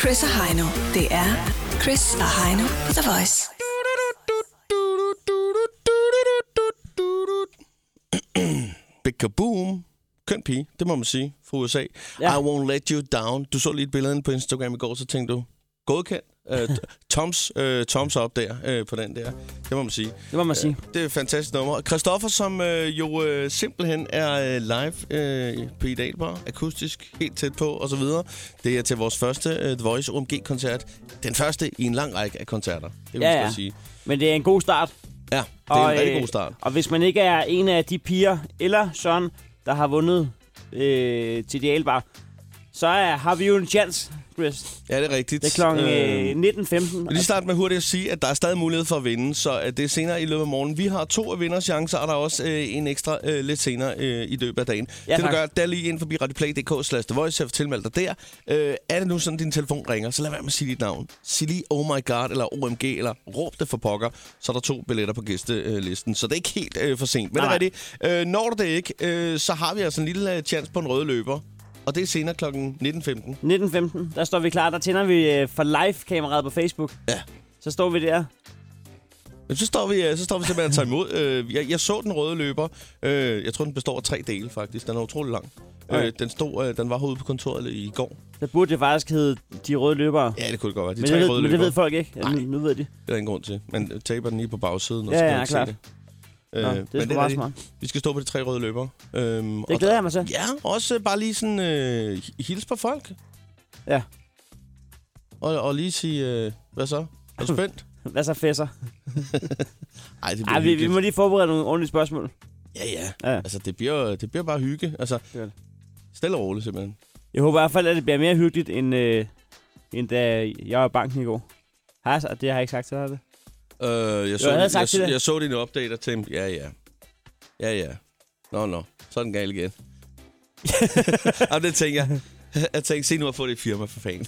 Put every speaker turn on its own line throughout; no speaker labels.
Chris og Heino. Det er Chris og Heino på The Voice.
Big kaboom. Køn pige, det må man sige, fra USA. Ja.
Ja.
I won't let you down. Du så lige et billede inde på Instagram i går, så tænkte du, godkendt. Uh, Toms, uh, Toms op der uh, på den der. Det må man sige.
Det må man sige.
Det er et fantastisk nummer. Christoffer, som øh, jo øh, simpelthen er øh, live øh, på Idalbar, akustisk, helt tæt på osv. Det er til vores første øh, The Voice OMG-koncert. Den første i en lang række af koncerter, det vil
Ja,
jeg
ja.
sige.
Men det er en god start.
Ja, det er en rigtig god start.
Og øh, hvis man ikke er en af de piger eller Søren, der har vundet øh, til de albar, så er, har vi jo en chance, Chris.
Ja, det er rigtigt.
Det er klokken
Øh,
øh, 19.15.
Jeg vil lige starte med hurtigt at sige, at der er stadig mulighed for at vinde, så øh, det er senere i løbet af morgenen. Vi har to af vinders chancer, og der er også øh, en ekstra øh, lidt senere øh, i løbet af dagen.
Ja,
det du
tak.
gør, det er lige ind forbi radioplay.dk slash The Voice, jeg tilmelde dig der. Øh, er det nu sådan, din telefon ringer, så lad være med at sige dit navn. Sig lige Oh My God, eller OMG, eller råb det for pokker, så er der to billetter på gæstelisten. Så det er ikke helt øh, for sent. Men
Nej,
er det, øh, når du det ikke, øh, så har vi altså en lille øh, chance på en rød løber. Og det er senere kl. 19.15.
19.15, der står vi klar. Der tænder vi øh, for live-kameraet på Facebook.
Ja.
Så står vi der.
Jamen, så står vi, øh, så står vi simpelthen og tager imod. Øh, Jeg, jeg så den røde løber. Øh, Jeg tror, den består af tre dele, faktisk. Den er utrolig lang.
Okay.
Øh, Den, stod, øh, den var herude på kontoret i går.
Der burde det faktisk hedde De Røde Løbere.
Ja, det kunne det godt være. De
men,
tre
det ved,
røde
men det
løbere.
ved folk ikke. Ja, nu, nu ved de.
Det er der ingen grund til. Man øh, taber den lige på bagsiden, og
Ja,
så
ja,
kan man
klart.
se det. Øh,
Nå, det er
men
sgu
er
meget
det.
smart.
Vi skal stå på de tre røde løbere. Øhm, og
Det glæder jeg mig til.
der- Ja, også øh, bare lige sådan øh, hils på folk.
Ja.
Og, og lige sige, øh, hvad så? Er du spændt?
Hvad så fæsser?
Ej, det bliver
Ej, vi, vi
hyggeligt.
må lige forberede nogle ordentlige spørgsmål.
Ja, ja.
Ja.
Altså, det bliver, det bliver bare hygge. Altså,
er det.
stille og roligt, simpelthen.
Jeg håber i hvert fald, at det bliver mere hyggeligt, end, øh, end da jeg var i banken i går. Har jeg, sagt- det har jeg ikke sagt til dig, det.
Øh, jeg, så,
jeg havde
jeg,
sagt
jeg,
til
jeg,
dig.
så dine updater og tænkte, ja, ja. Ja, ja. Nå, nå. Så er den gal igen. Jamen, det tænker jeg. Jeg tænkte, se nu at få det firma for fanden.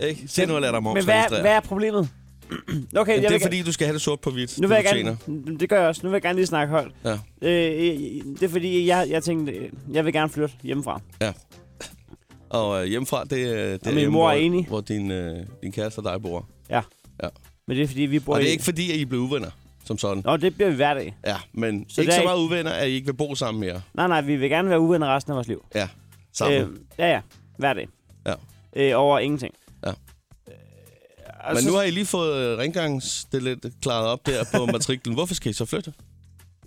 Ikke? Se nu at lade dig
Men hvad,
momsregistrere.
hvad er problemet? okay,
Jamen,
jeg
det er
vil,
fordi, du skal have det sort på hvidt.
nu
det
vil jeg
du tjener.
gerne, Mm, det gør jeg også. Nu vil jeg gerne lige snakke højt.
Ja.
Øh, øh, det er fordi, jeg, jeg tænkte, øh, jeg vil gerne flytte hjemmefra.
Ja. Og øh, hjemmefra, det, øh, det
min
hjemme,
mor er
hvor-
enig.
Hvor din, øh, din kæreste og dig bor.
Ja.
Ja.
Men det er fordi, vi bor
Og det
i-
er ikke fordi, at I blev uvenner, som sådan.
Nå, det bliver vi hver dag.
Ja, men
Så
så ikke
der
så
er
meget uvenner, at I ikke vil bo sammen mere.
Nej, nej, vi vil gerne være uvenner resten af vores liv.
Ja, sammen. Øh,
ja, ja. Hver dag.
Ja.
Øh, over ingenting.
Ja.
Øh, og
men
så-
nu har I lige fået øh, rengøringsstelet klaret op der på matriklen. Hvorfor skal I så flytte?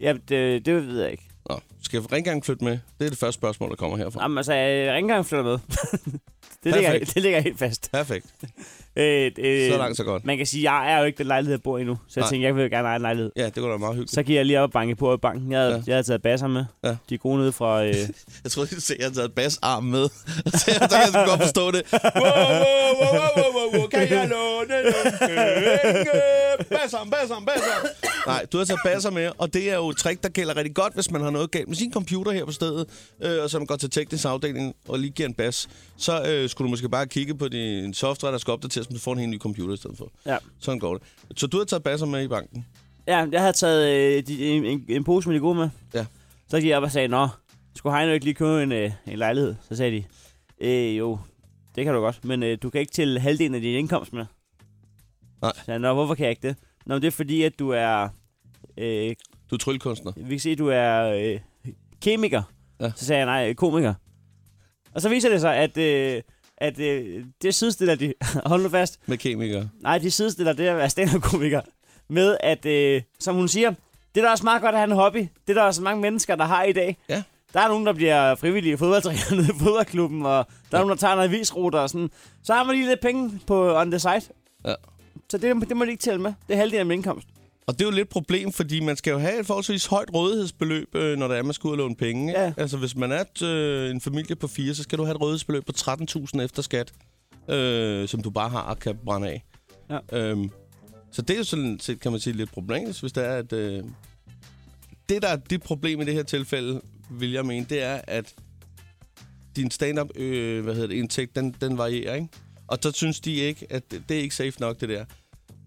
Ja, det, det ved jeg ikke.
Nå, skal rengøring flytte med? Det er det første spørgsmål, der kommer herfra.
Jamen, altså, øh, ringgang flytter med. det, ligger,
Perfekt.
det ligger helt fast.
Perfekt.
Øh, øh,
Så langt, så godt.
Man kan sige, at jeg er jo ikke den lejlighed, jeg bor i nu. Så jeg
Nej.
tænkte, jeg vil gerne eje en lejlighed.
Ja, det går da meget hyggeligt.
Så gik jeg lige op og banke på i banken. Jeg havde,
Ja.
ja. jeg havde taget basser med.
Ja.
De er gode nede fra... Øh,
Jeg troede, du sagde, at jeg havde taget basarm med. så jeg så jeg skulle godt forstå det. Wow, wow, wow, wow, wow, wow, kan jeg låne nogle penge? Basarm, basarm, basarm. Nej, du har taget basser med, og det er jo et trick, der gælder rigtig godt, hvis man har noget galt med sin computer her på stedet, øh, og så man går til teknisk afdeling og lige giver en bas. Så øh, skulle du måske bare kigge på din software, der skal opdateres, men du får en helt ny computer i stedet for.
ja.
Sådan går det. Så du har taget basser med i banken?
ja, jeg havde taget øh, de, en, en, en pose med de gode med.
Ja.
Så gik jeg op og sagde, Nå, skulle Heino ikke lige købe en, øh, en lejlighed? Så sagde de, øh, jo, det kan du godt, men øh, du kan ikke tælle halvdelen af din indkomst med.
Nej.
Så jeg, Nå, hvorfor kan jeg ikke det? Nå, men det er fordi, at du er... Øh,
Du er tryllekunstner.
vi kan se, at du er øh, kemiker.
Ja.
Ja. Så sagde jeg, nej, komiker. Og så viser det sig, at, øh, at øh, det sidestiller de, hold nu fast,
Med kemikere.
nej, de sidestiller det at være stand-up-komiker med, at øh, som hun siger, det er da også meget godt at have en hobby. Det er der også mange mennesker, der har i dag.
Ja.
Der er nogen, der bliver frivillige fodboldtræner nede i fodboldklubben, og der er nogen, der tager en avisruter og sådan. Så har man lige lidt penge på on the side.
Ja.
Så det, det må de ikke tælle med. Det er halvdelen af min indkomst.
Og det er jo lidt et problem, fordi man skal jo have et forholdsvis højt rådighedsbeløb, øh, når der er, man skal ud og låne penge. ikke?
Ja.
Altså, hvis man er et, øh, en familie på fire, så skal du have et rådighedsbeløb på 13.000 efter skat, øh, som du bare har og kan brænde af.
Ja.
Øhm, så det er jo sådan set, kan man sige, lidt problematisk, hvis det er, at... Øh, det, der er dit problem i det her tilfælde, vil jeg mene, det er, at din stand-up øh, hvad hedder det, indtægt, den, den varierer, ikke? Og så synes de ikke, at det, det er ikke safe nok, det der.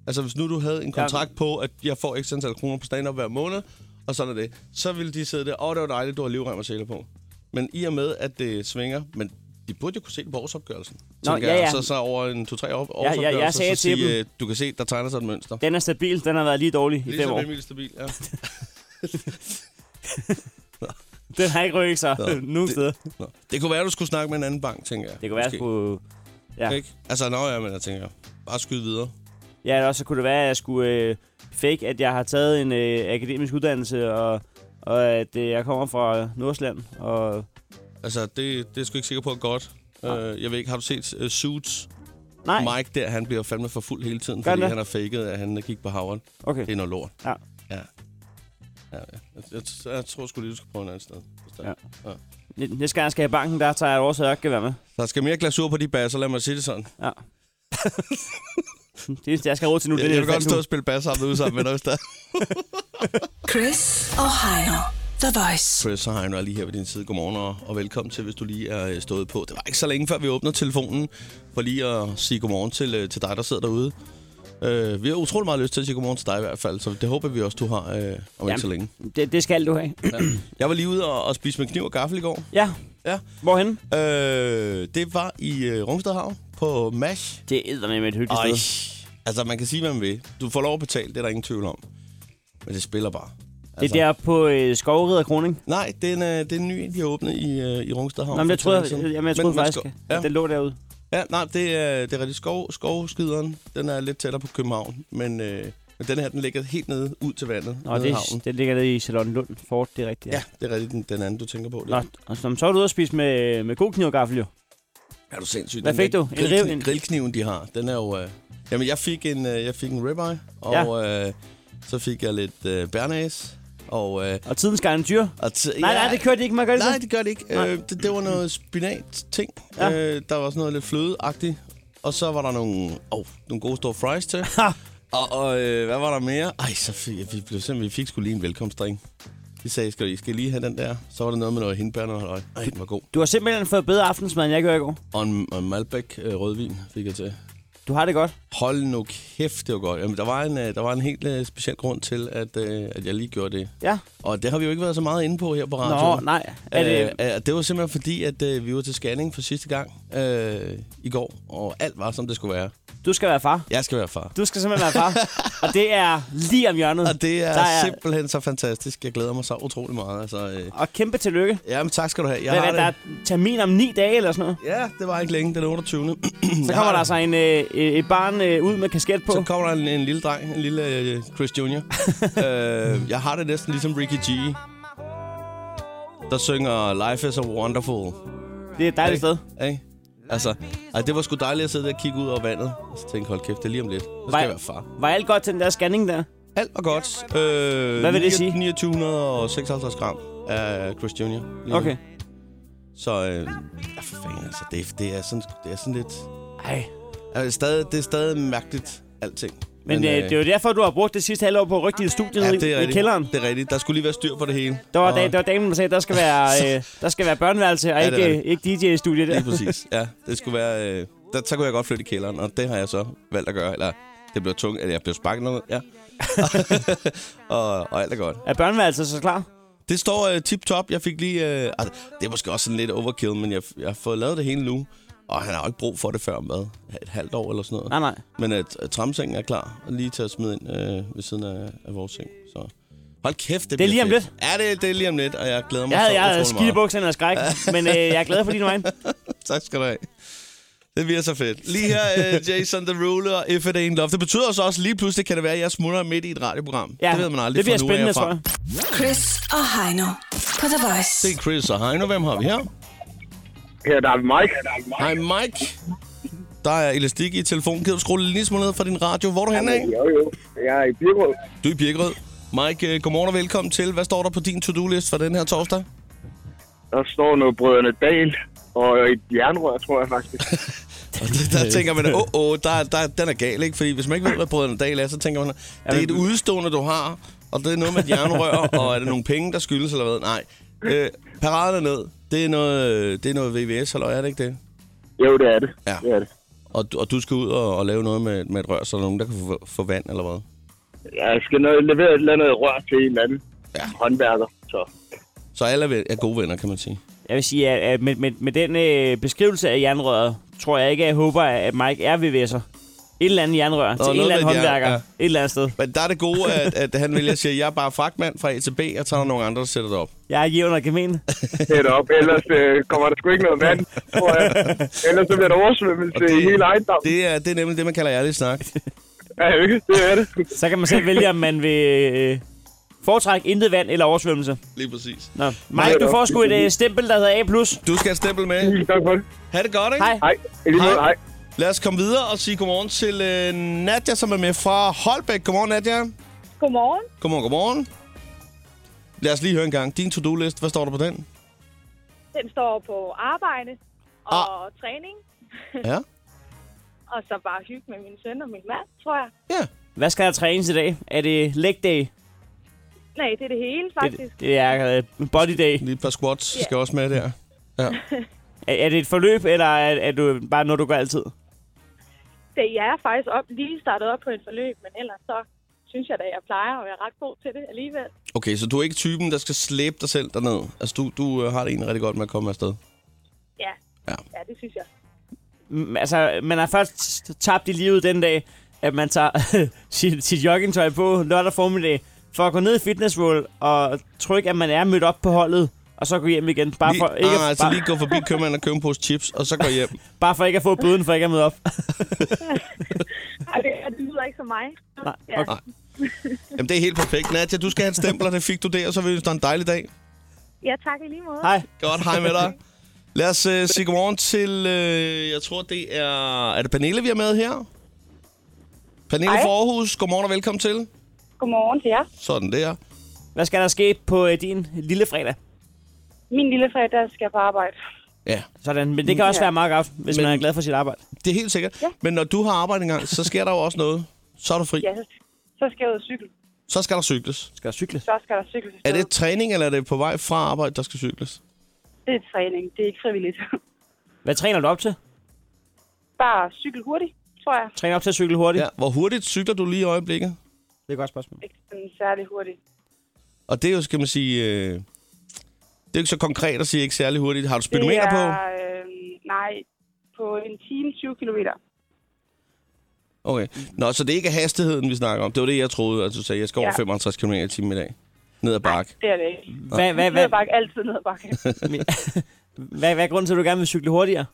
Altså, hvis nu du havde en kontrakt ja. på, at jeg får x antal kroner på stand-up hver måned, og sådan er det, så ville de sidde der, åh, det var dejligt, du har livrem og sæler på. Men i og med, at det svinger, men de burde jo kunne se det på årsopgørelsen.
Nå,
tænker
ja,
jeg.
ja.
Så, så over en to-tre år,
ja, jeg
årsopgørelser,
sagde
så
til
sige, øh, du kan se, der tegner sig et mønster.
Den er stabil, den har været lige dårlig i fem
Ligesom
år.
Emil Stabil, ja.
Den har ikke rykket sig
Nå,
nogen
det-
steder.
Nå. Det kunne være, du skulle snakke med en anden bank, tænker jeg.
Det kunne være, at jeg
Måske.
skulle... ja.
Ikke? Altså, nå ja, men jeg tænker, bare skyde videre.
Ja, eller også så kunne det være, at jeg skulle øh, fake, at jeg har taget en øh, akademisk uddannelse, og, og at øh, jeg kommer fra Nordsjælland. Og
Altså, det, det er jeg sgu ikke sikker på er godt. Uh, jeg ved ikke, har du set uh, Suits?
nej,
Nej. Mike der, han bliver fandme for fuld hele tiden,
Gør han
fordi
det?
han har faked, at han gik på Harvard.
okay.
Det er noget lort.
Ja.
Ja. ja. Jeg, jeg, jeg tror sgu lige, du skal prøve en anden sted.
Ja. Næ- Næste gang jeg skal i banken, der tager jeg et årsag, jeg ikke kan være med.
Der skal mere glasur på de basser, lad mig sige det sådan.
Ja. det eneste, jeg skal have råd til nu,
Jeg,
det er
jeg vil godt
elefanthue.
stå og spille basser sammen ude sammen med dig, hvis der er.
Chris og Heino. The Voice.
Chris og Heino er lige her ved din side. Godmorgen og, og velkommen til, hvis du lige er øh, stået på. Det var ikke så længe, før vi åbner telefonen, for lige at sige godmorgen til, øh, til dig, der sidder derude. Øh, vi har utrolig meget lyst til at sige godmorgen til dig i hvert fald, så det håber vi også, du har øh, om ikke
Jamen.
så længe.
Det, det skal du have.
Jeg var lige ude og, og spise med kniv og gaffel i går.
Ja,
Ja.
hvorhen?
Øh, det var i øh, Rungsted Havn på MASH.
Det er med et hyggeligt
Ej,
sted.
altså man kan sige, hvad man vil. Du får lov at betale, det er der ingen tvivl om. Men det spiller bare. Altså,
Det er der på øh, Skovrid og Kroning.
Nej, det er, en, øh, det er en ny, en, de har åbnet i, øh, i Rungsted Havn.
Nå, men jeg
for
troede,
lang tid siden.
jeg, jamen, jeg
Men
troede
man
faktisk,
skal-
at den lå derude.
Ja, nej, det er, det er rigtig skov, skovskideren. Den er lidt tættere på København, men, øh, men den her, den ligger helt nede ud til vandet.
Nå,
nede i havnen.
det, det ligger nede i Salon Lund Fort, det er rigtigt.
Ja, det er rigtig den, den anden, du tænker på. Det.
Nå, og så, så er du ude og spise med, med god kniv og gaffel, jo.
Er du sindssyg?
Hvad
Den
fik
der
du? En
Grill,
riv-
en
en-
grillkniven, de har, den er jo... Øh, jamen, jeg fik en, øh, jeg fik en ribeye, og ja. øh, så fik jeg lidt øh, bearnaise, og... Øh,
Og tiden skal en dyr.
og t-
Nej,
ja,
nej, det kørte de ikke, man gør det
Nej,
så.
det gør det ikke.
Altså- Nej.
Øh, det, det var noget spinat-ting.
Ja.
Ja. Øh, der var også noget lidt flødeagtigt. Og så var der nogle, oh, nogle gode store fries til. og og øh, hvad var der mere? Ej, så fik, vi, blev simpelthen, vi fik sgu lige en velkomstdrink. De sagde, skal I, skal I lige have den der? Så var der noget med noget hindbær og noget halløj. Ej, den var god.
Du har simpelthen fået bedre aftensmad, end jeg gjorde i går.
Og en, og en Malbec øh, rødvin fik jeg til.
Du har det godt.
Hold nu kæft, det var godt. Jamen, der, var en, øh, der var en helt øh, speciel grund til, at, øh, at jeg lige gjorde det.
Ja.
Og det har vi jo ikke været så meget inde på her på radioen.
Nå, nej. Er
Øh,
det,
øh, det var simpelthen fordi, at øh, vi var til scanning for sidste gang øh, i går, og alt var, som det skulle være.
du skal være far.
Jeg skal være far.
Du skal simpelthen være far. og det er lige om hjørnet.
Og det er,
Der er-
er simpelthen så fantastisk. Jeg glæder mig så utrolig meget. Altså, øh,
Og kæmpe tillykke.
jamen, tak skal du have. Jeg
Hvad,
har
hvad, der er
det.
termin om ni dage eller sådan noget.
Ja, det var ikke længe, den 28.
Så kommer der altså en, øh, øh, et barn øh, ud med kasket på.
Så kommer der en, en lille dreng, en lille øh, Chris Jr. øh, jeg har det næsten ligesom Ricky G, der synger Life is a Wonderful.
Det er et dejligt sted.
Ikke? Altså, ej, det var sgu dejligt at sidde der og kigge ud over vandet. Og så tænke, hold kæft, det er lige om lidt. Nu skal
Var-
jeg være far.
Var alt godt til den der scanning der?
Alt var godt. Øh,
Hvad vil det sige?
2956 gram af Chris Jr. lige nu.
Okay.
Så øh, ja, for fanden, altså, det, det, er sådan, det er sådan lidt...
Ej.
Altså, stadig, det er stadig mærkeligt, alting.
Men, øh, det er jo derfor, du har brugt det sidste halvår på at rykke dit studie
ja,
ned
det er
i, i
rigtigt.
kælderen.
Det er rigtigt. Der skulle lige være styr på det hele.
Der var,
Og-
da, der var damen, der sagde, at der skal være, øh, der skal være børneværelse og
Ja, det er
ikke, ikke DJ-studie der.
Lige præcis. Ja, det skulle være... Øh, der, så kunne jeg godt flytte i kælderen, og det har jeg så valgt at gøre. Eller det blev tungt, eller jeg blev sparket noget. Ja. og, og alt er godt.
Er børneværelset så klar?
Det står øh, tip-top. Jeg fik lige... Øh, altså, det er måske også sådan lidt overkill, men jeg, jeg har fået lavet det hele nu. Og han har jo ikke brug for det før med et halvt år eller sådan noget.
Nej, nej.
Men at, at tramsengen er klar og lige til at smide ind øh, ved siden af, af vores seng. Så hold kæft, det,
Det er
bliver
lige om
fedt. Ja, det, det er lige om lidt, og jeg glæder mig
Jeg havde,
så
jeg havde
utrolig
skidt i
meget.
bukserne af skræk, men øh, jeg er glad for din vej.
Tak skal du have. Det bliver så fedt. Lige her, øh, Jason Derulo og If It Ain't Love. Det betyder så også, lige pludselig kan det være, at jeg smutter midt i et radioprogram. det ved man aldrig
det bliver
fra nu af
spændende,
og frem.
tror jeg.
Chris og Heino på The Voice.
Det er Chris og Heino. Hvem har vi her?
Her der er Mike.
Hej Mike. Der er elastik i telefonen. Kan du skrue lidt lille smule ned fra din radio? Hvor er du henne af?
Jo, jo. Jeg er i Birkerød.
Du er i Birkerød. Mike, øh, godmorgen og velkommen til. Hvad står der på din to-do-list for den her torsdag?
Der står noget Brødrene Dal og øh, et jernrør, tror jeg faktisk.
Og det, der tænker man, åh, oh, oh, der, der, den er gal, ikke? Fordi hvis man ikke ved, hvad brødrene Dahl er, så tænker man, det er et udstående, du har, og det er noget med et jernrør, og er det nogle penge, der skyldes eller hvad? Nej. Øh, paraderne ned, det er noget, øh, det er noget VVS, eller er det ikke det?
jo, det er det.
Ja.
Det er det.
Og, du- og du skal ud og, og lave noget med, med et rør, så der er nogen, der kan få, få vand eller hvad?
Jeg skal noget, levere et eller andet rør til en eller anden
Ja.
håndværker. Så
Så alle er, ven- er gode venner, kan man sige.
Jeg vil sige, at, at med, med, med den øh, beskrivelse af jernrøret, tror jeg ikke, at jeg håber, at Mike er VVS'er. Et eller andet jernrør Nå, til en
noget
eller anden
med et jern,
håndværker.
ja.
Et eller andet sted.
Men der er det gode, at, at han vælger at sige, at jeg er bare fragtmand fra A til B, og så er der nogle andre, der sætter det op.
Jeg er jævn og gemen.
Helt op. Ellers øh, kommer der sgu ikke noget vand, tror jeg. Ellers så bliver der oversvømmelse i hele ejendommen.
Det er, det er nemlig det, man kalder ærlig snak.
Ja, ikke? Det er det.
Så kan man selv vælge, om man vil øh, foretrække intet vand eller oversvømmelse.
Lige præcis.
Nå, Mike, du får sgu et øh, stempel, der hedder A+.
Du skal have et stempel med.
Tusind tak for det.
Ha' det godt, ikke?
Hej.
Hej. I lige måde,
Hej.
hej.
Lad os komme videre og sige godmorgen til øh, Nadja, som er med fra Holbæk. Godmorgen, Nadja.
Godmorgen.
Godmorgen, godmorgen. Lad os lige høre en gang. Din to-do-list, hvad står der på den?
Den står på arbejde og træning,
Ja.
og så bare hygge med min søn og min mand, tror jeg.
Ja.
Hvad skal der trænes i dag? Er det leg day?
Nej, det er det hele,
Det,
faktisk.
det er øh, body day.
Lige et par squats skal også med der.
Er, er det et forløb, eller er, er du bare noget, du gør altid?
Det, jeg er faktisk op, lige startet op på et forløb, men ellers så synes jeg da, jeg plejer, og jeg er ret god til det alligevel.
Okay, så du er ikke typen, der skal slæbe dig selv derned. Altså, du, du øh, har det egentlig rigtig godt med at komme afsted.
Ja,
Ja.
ja det synes jeg.
Mm, altså, man har først tabt i livet den dag, at man tager sit, sit joggingtøj på lørdag formiddag, for at gå ned i Fitness World og trykke, at man er mødt op på holdet, og så gå hjem igen, bare
Lige,
for, ikke,
ah,
at,
altså,
bare,
lige gå forbi købmanden og købe en pose chips, og så gå hjem.
bare for ikke at få bøden, for ikke at møde op.
Ej, det, det lyder ikke som mig.
Nej,
Ja.
okay.
Jamen, det er helt perfekt. Nadja, du skal have en stempel, og det fik du der, og så vil du have en dejlig dag.
Ja, tak i lige måde.
Hej.
Godt, hej med dig. Lad os øh, sige godmorgen til, øh, jeg tror det er, er det Pernille, vi har med her? Pernille
Hej.
fra Aarhus, godmorgen og velkommen til.
Godmorgen til jer.
Sådan der.
Hvad skal der ske på øh, din lille fredag?
Min lille fredag skal på arbejde.
Ja,
Sådan, men det kan også
Ja.
være meget godt, hvis
Men-
men, man er glad for sit arbejde.
det er helt sikkert. Ja.
Ja.
Men når du har arbejde engang, så sker der jo også noget. Så er du fri. Ja.
Ja, så, så skal jeg ud og cykle.
Så skal der cykles.
Skal cykle.
Så skal der cykle. til
Er det
stedet.
træning, eller er det på vej fra arbejde, der skal cykles?
det er træning. Det er ikke frivilligt.
Hvad træner du op til?
Bare cykle hurtigt, tror jeg.
Træner op til at cykle hurtigt?
Ja. Hvor hurtigt cykler du lige i øjeblikket?
Det er et godt spørgsmål.
Ikke sådan særlig hurtigt.
Og det er jo, skal man sige, øh, det er jo ikke så konkret at sige ikke særlig hurtigt. Har du speedometer
det
på?
er, Øh, nej, på en time 20 kilometer.
Okay. Nå, så det er ikke hastigheden, vi snakker om. Det var det, jeg troede, at du sagde, jeg skal over
Ja.
55 km i timen i dag. Ned ad bakke.
Det er det ikke.
Hvad, hvad,
Ned
hvad,
ad bakke, altid ned ad bakke.
hvad, hvad er grunden til, at du gerne vil cykle hurtigere?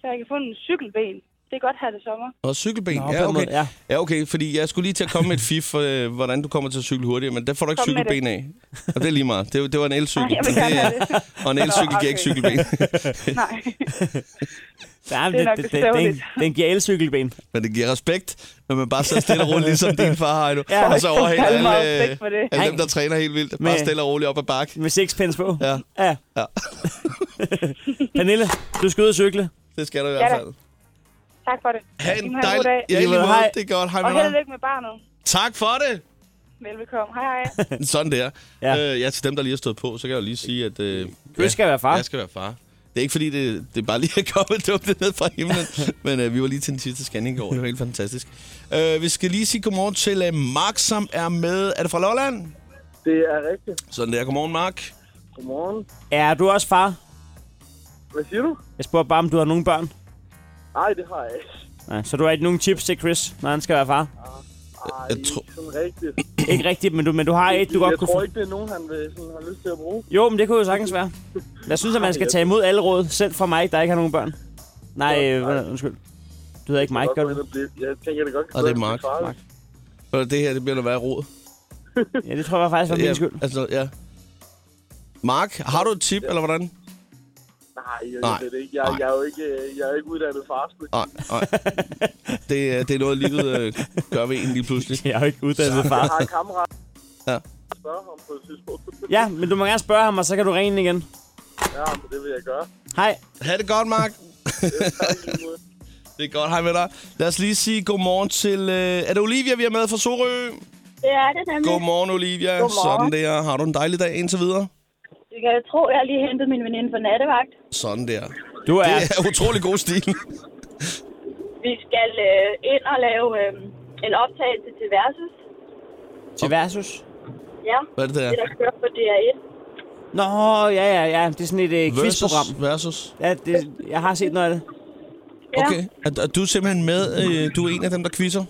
så jeg kan få en cykelben. Det er godt her til sommer.
Og cykelben.
Nå, på
ja,
den
okay.
måde, ja.
ja, okay. Fordi jeg skulle lige til at komme med et fif, øh, hvordan du kommer til at cykle hurtigere, men der får du ikke
Kom med
cykelben af. Og det er lige meget. Det, det var en elcykel.
Ej, jeg vil
men
gerne
det,
have det.
Og en elcykel
Nå,
giver ikke
okay.
cykelben.
Nej,
Ja,
Det er nok
det,
lidt
det, den,
sørgeligt.
den giver elcykelben.
men det giver respekt, når man bare sidder stille og roligt, ligesom din far har nu.
Ja.
og så overhælder
Fandme
alle,
respekt for det.
alle dem, der træner helt vildt. Bare
Men-
stille og roligt op ad bakke.
Med sixpence på.
Ja.
ja.
Ja.
Pernille, du skal ud og cykle.
Det skal du i
Ja
hvert
da.
fald.
tak for det.
Ha'
I
en
må have
dejlig...
god dag.
Ja, i lige måde.
Hej.
Det er godt. Hej med
Og held og
dig.
lykke med barnet.
Tak for det.
Velbekomme. Hej, hej.
Sådan der. Ja.
Ja.
Øh, ja, til dem, der lige har stået på, så kan jeg jo lige sige, at... Øh,
Du
ja,
skal være far.
Jeg skal være far. Det er ikke fordi, det, det er bare lige er kommet dumt ned fra himlen, men øh, vi var lige til den sidste scanning i går. Det var helt fantastisk. Øh, vi skal lige sige godmorgen til øh, Mark, som er med... Er det fra Lolland?
Det er rigtigt.
Sådan der. Godmorgen, Mark.
Godmorgen.
Er du også far?
Hvad siger du?
Jeg spurgte bare, om du har nogle børn.
Nej, det har jeg ikke.
Nej, så du har ikke nogen tips til Chris, når han skal være far?
Ej,
Jeg
jeg
tror-
tror... ikke sådan rigtigt.
Ikke rigtigt, men du, men du har et, du godt
jeg
kunne...
tror
få-
ikke, det er nogen, han vil, sådan, har lyst til at bruge.
Jo, men det kunne jo sagtens være. Jeg synes, at man skal tage imod alle råd, selv fra mig, der ikke har nogen børn. Nej, øh, hvad- undskyld. Du hedder ikke Mike, gør du?
Godt, men det- Jeg tænker, det godt kan
Og det er
være,
Mark.
farligt.
Mark.
Og det her, det bliver noget værre rod.
Ja, det tror jeg faktisk var min skyld.
altså, ja. Mark, har du et tip, eller hvordan?
Nej, jeg,
Nej.
Nej. Ved det ikke. Jeg,
Nej.
jeg, er jo ikke, øh, jeg er ikke uddannet farskud.
Nej, nej. Det, er- det er noget, livet øh, gør ved en lige pludselig.
Jeg er jo ikke uddannet far.
Jeg har en kammerat.
Ja.
Spørg ham på et tidspunkt.
Ja, men du må gerne spørge ham, og så kan du ringe ind igen.
ja, men det vil jeg gøre.
Hej.
Ha' det godt, Mark.
Tak, i lige måde.
Det er godt, hej med dig. Lad os lige sige godmorgen til... Øh, er det Olivia, vi har med fra Sorø?
Det er det nemlig.
Godmorgen, Olivia.
Godmorgen.
Sådan der. Har du en dejlig dag indtil videre?
Jeg kan tro, jeg har lige hentet min veninde fra nattevagt.
Sådan der.
Du er...
Det er utrolig god stil.
Vi skal øh, ind og lave øh, en optagelse til Versus.
Til Versus?
Ja,
Hvad er det der?
der kører på DR1.
Nå, ja, ja, ja. Det er sådan et øh, quizprogram.
Versus.
Ja, det, jeg har set noget af det.
Ja.
Okay. Er, er du simpelthen med? Øh, du er en af dem, der quizzer?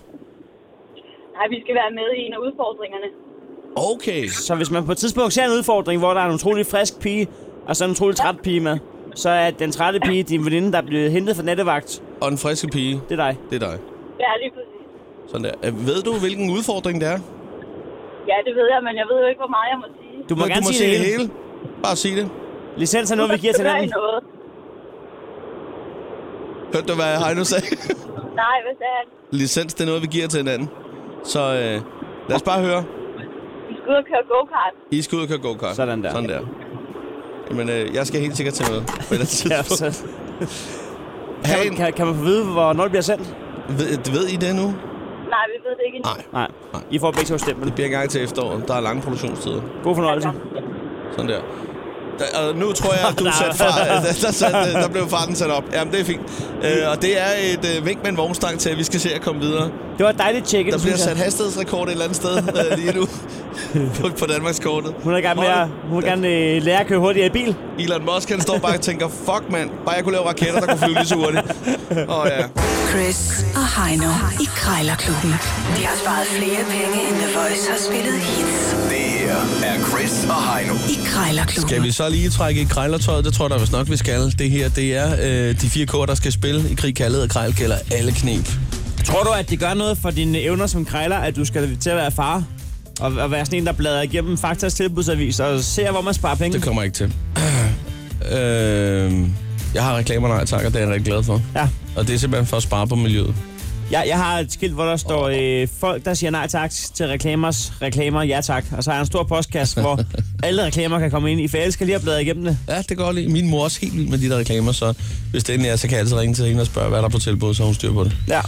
Nej, vi skal være med i en af udfordringerne.
Okay.
Så hvis man på et tidspunkt ser en udfordring, hvor der er en utrolig frisk pige, og så en utrolig træt pige med, så er den trætte pige din veninde, der er blevet hentet fra nattevagt.
Og den friske pige,
Det er dig.
det er dig.
Ja, lige præcis.
Sådan der. Øh, Ved du, hvilken udfordring det er?
Ja, det ved jeg, men jeg ved jo ikke, hvor meget jeg må sige.
Du må
Men
gerne
du må
sige det hele.
hele. Bare sig det.
Licens er noget, vi giver til
Hør I
hinanden.
noget?
Hørte du, hvad Heino sagde?
Nej, hvad sagde han?
Licens, det er noget, vi giver til hinanden. Så øh, lad os bare høre.
Vi skal ud og køre go-kart.
I skal ud og køre go-kart.
Sådan der.
Sådan der. Jamen, øh, jeg skal helt sikkert tage med på et eller andet
Ja,
tidspunkt.
så
Ha'
kan,
en-
kan, kan man få vide, hvornår det bliver sendt?
ved, ved I det nu?
Nej, vi ved det ikke endnu.
Nej.
Nej.
Nej.
I får begge to stemmen.
Det bliver en gang til efteråret. Der er lange produktionstider.
God fornøjelse.
Sådan der. der og nu tror jeg, at du
Nej.
satte far, der, der, satte, der blev farten sat op. Jamen, det er fint. Øh, og det er et øh, vink med en vognstang til, at vi skal se at komme videre.
Det var et dejligt tjekket,
Der bliver
synes jeg.
sat hastighedsrekord et eller andet sted øh, lige nu på, på Danmarkskortet.
Hun er i gang med at, hun vil gerne øh, lære at køre hurtigere i bil.
Elon Musk, han står bare og tænker, fuck mand, bare jeg kunne lave raketter, der kunne flyve lige så hurtigt. Og ja.
Chris og Heino i Krejlerklubben. De har sparet flere penge, end The Voice har spillet hits
Det her er Chris og Heino.
i Krejlerklubben.
Skal vi så lige trække i krejlertøjet? Det tror jeg da vist nok, vi skal. Det her, det er øh, de fire kår, der skal spille i krig, kaldet og krejlkælder. Alle knep.
Tror du, at det gør noget for dine evner som krejler, at du skal til at være far? Og, og være sådan en, der bladrer igennem Faktas tilbudsavis og ser, hvor man sparer penge?
Det kommer jeg ikke til. øh, jeg har reklamer, nej tak, og det er jeg rigtig glad for.
Ja.
Og det er simpelthen for at spare på miljøet.
Jeg, jeg har et skilt, hvor der står øh, folk, der siger nej tak til reklamers reklamer, ja tak. Og så har jeg en stor postkasse, hvor alle reklamer kan komme ind i, for jeg elsker lige at bladre igennem det.
Ja, det går lige. Min mor er også helt vild med de der reklamer, så hvis det endelig er, så kan jeg altid ringe til hende og spørge, hvad der er på tilbud, så har hun styr på det.
Ja.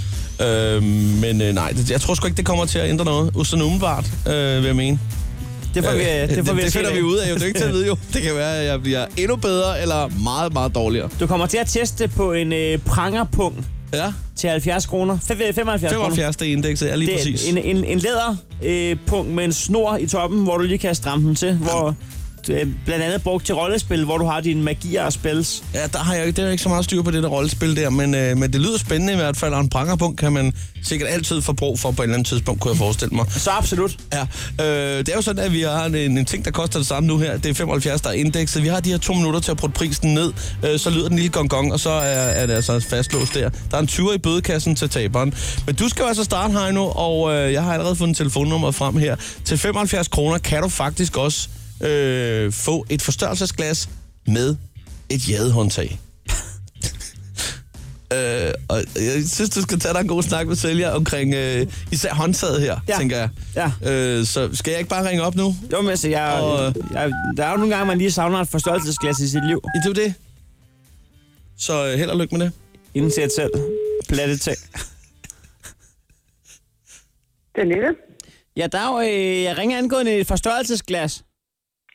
Øh, men øh, nej, det, jeg tror sgu ikke, det kommer til at ændre noget. Usten umiddelbart, øh, vil jeg mene.
Det får vi, øh, det får vi at
det
se
finder
af.
vi ud af. Jo. Det er ikke til at vide, jo. Det kan være, at jeg bliver endnu bedre eller meget, meget dårligere.
Du kommer til at teste på en øh, prangerpung
Ja,
til 70 kroner. Fe- fe- 75 kroner.
75. Det er indekset er lige
Det
præcis.
er en, en, en læderpung øh, pung med en snor i toppen, hvor du lige kan stramme den til. Hvor øh, blandt andet brugt til rollespil, hvor du har dine magier og spells.
Ja, der har jeg, ikke- det er ikke så meget styr på det der rollespil der, men, øh, men det lyder spændende i hvert fald, og en prangerpunkt kan man sikkert altid få brug for på et eller andet tidspunkt, kunne jeg forestille mig.
Så absolut.
Ja, øh, det er jo sådan, at vi har en, en ting, der koster det samme nu her. Det er 75, der er indekset. Vi har de her to minutter til at putte prisen ned. Øh, så lyder den lille gong, gong og så er, er det altså fastlåst der. Der er en 20 i bødekassen til taberen. Men du skal jo altså starte, Heino, og øh, jeg har allerede fundet telefonnummeret frem her. Til 75 kroner kan du faktisk også øh, få et forstørrelsesglas med et jadehåndtag. Øh, og jeg synes, du skal tage dig en god snak med sælger omkring øh, især håndtaget her,
Ja.
tænker jeg.
Ja.
Øh, så skal jeg ikke bare ringe op nu?
Jo, men altså, jeg,
Og-
jeg, der er jo nogle gange, man lige savner et forstørrelsesglas i sit liv.
Ja, Det er jo det. Så øh, held og lykke med det.
Indsæt selv. Platte tag.
Det er Nette.
Ja, dag. Øh, jeg ringer angående et forstørrelsesglas,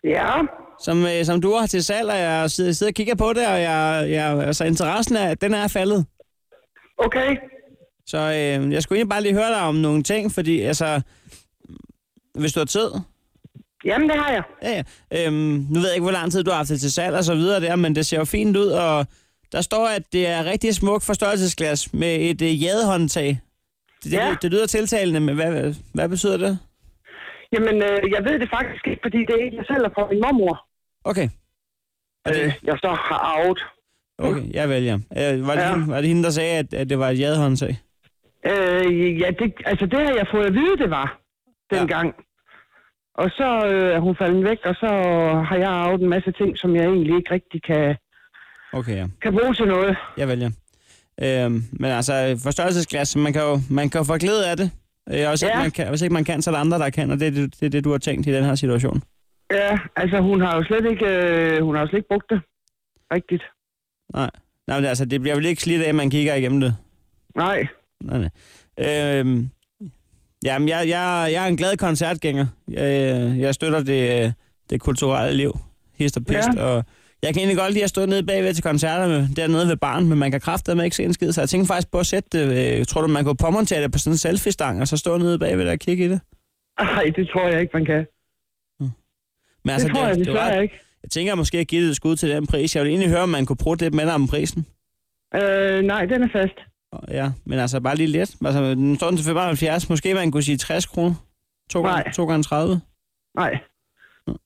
Ja,
som, øh, som du har til salg, og jeg sidder, sidder og kigger på det, og jeg, jeg, altså, interessen er, den er faldet.
okay.
Så øh, jeg skulle egentlig bare lige høre dig om nogle ting, fordi altså, hvis du har tid.
Jamen, det har jeg.
Ja, ja. Øhm, nu ved jeg ikke, hvor lang tid du har haft det til salg og så videre der, men det ser jo fint ud, og der står, at det er rigtig smukt forstørrelsesglas med et øh, jadehåndtag. Det, det,
Ja.
det lyder tiltalende, men hvad, hvad betyder det?
Jamen, øh, jeg ved det faktisk ikke, fordi det er ikke jeg selv, der får min mormor.
Okay. Og det-
Øh, jeg så har arvet.
Okay, jeg vælger. Øh, var, det
Ja.
ja. hende, var det hende, der sagde, at, at det var et jadehåndtag?
Øh, ja, det, altså det har jeg fået at vide, det var dengang. Og så øh, er hun faldet væk, og så har jeg arvet en masse ting, som jeg egentlig ikke rigtig kan,
Okay, ja.
kan bruge til noget.
Jeg vælger. Øhm, men altså, forstørrelsesglas, man kan jo, man kan jo få glæde af det. Øh, og hvis, ja. ikke
Ja.
man kan, hvis ikke man kan, så er der andre, der kan, og det er det, det, er det du har tænkt i den her situation.
Ja, altså hun har jo slet ikke, øh, hun har jo slet ikke brugt det rigtigt.
Nej. Nej, men altså, det bliver vel ikke slidt af, at man kigger igennem det.
Nej,
Nej, nej. Øhm, jamen, jeg, jeg, jeg er en glad koncertgænger. Jeg, øh, jeg støtter det, øh, det kulturelle liv. Hist og pist. Ja.
Ja.
Og jeg kan egentlig godt lide at stå nede bagved til koncerterne dernede ved barn, men man kan kraftedeme ikke se en skid. Så jeg tænker faktisk på at sætte det. Øh, tror du, man kunne påmontere det på sådan en selfie-stang, og så stå nede bagved der og kigge i det?
Ej, det tror jeg ikke, man kan.
Men
Altså, det tror jeg
det, er jo
desværre
ret-
ikke.
Jeg tænker måske at give det et skud til den pris. Jeg vil egentlig høre, om man kunne bruge lidt med om prisen.
Øh, nej, den er fast.
Og Ja, men altså bare lige lidt. Altså, den står den til 75. Måske man kunne sige 60 kroner. 2 gange,
Nej.
2 gange 30.
Nej,
Kunne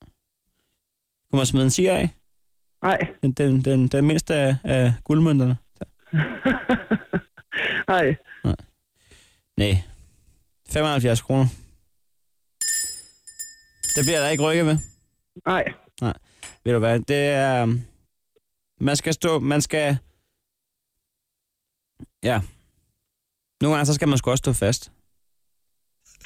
man smide en 10 af?
nej,
Den, den, den, den mindste af, af guldmønterne.
nej.
Nej. 75 kroner. Det bliver der ikke rykket ved.
Nej,
Ved du hvad, det er... øhm, Man skal stå... Man skal... Ja. Nogle gange, så skal man sgu også stå fast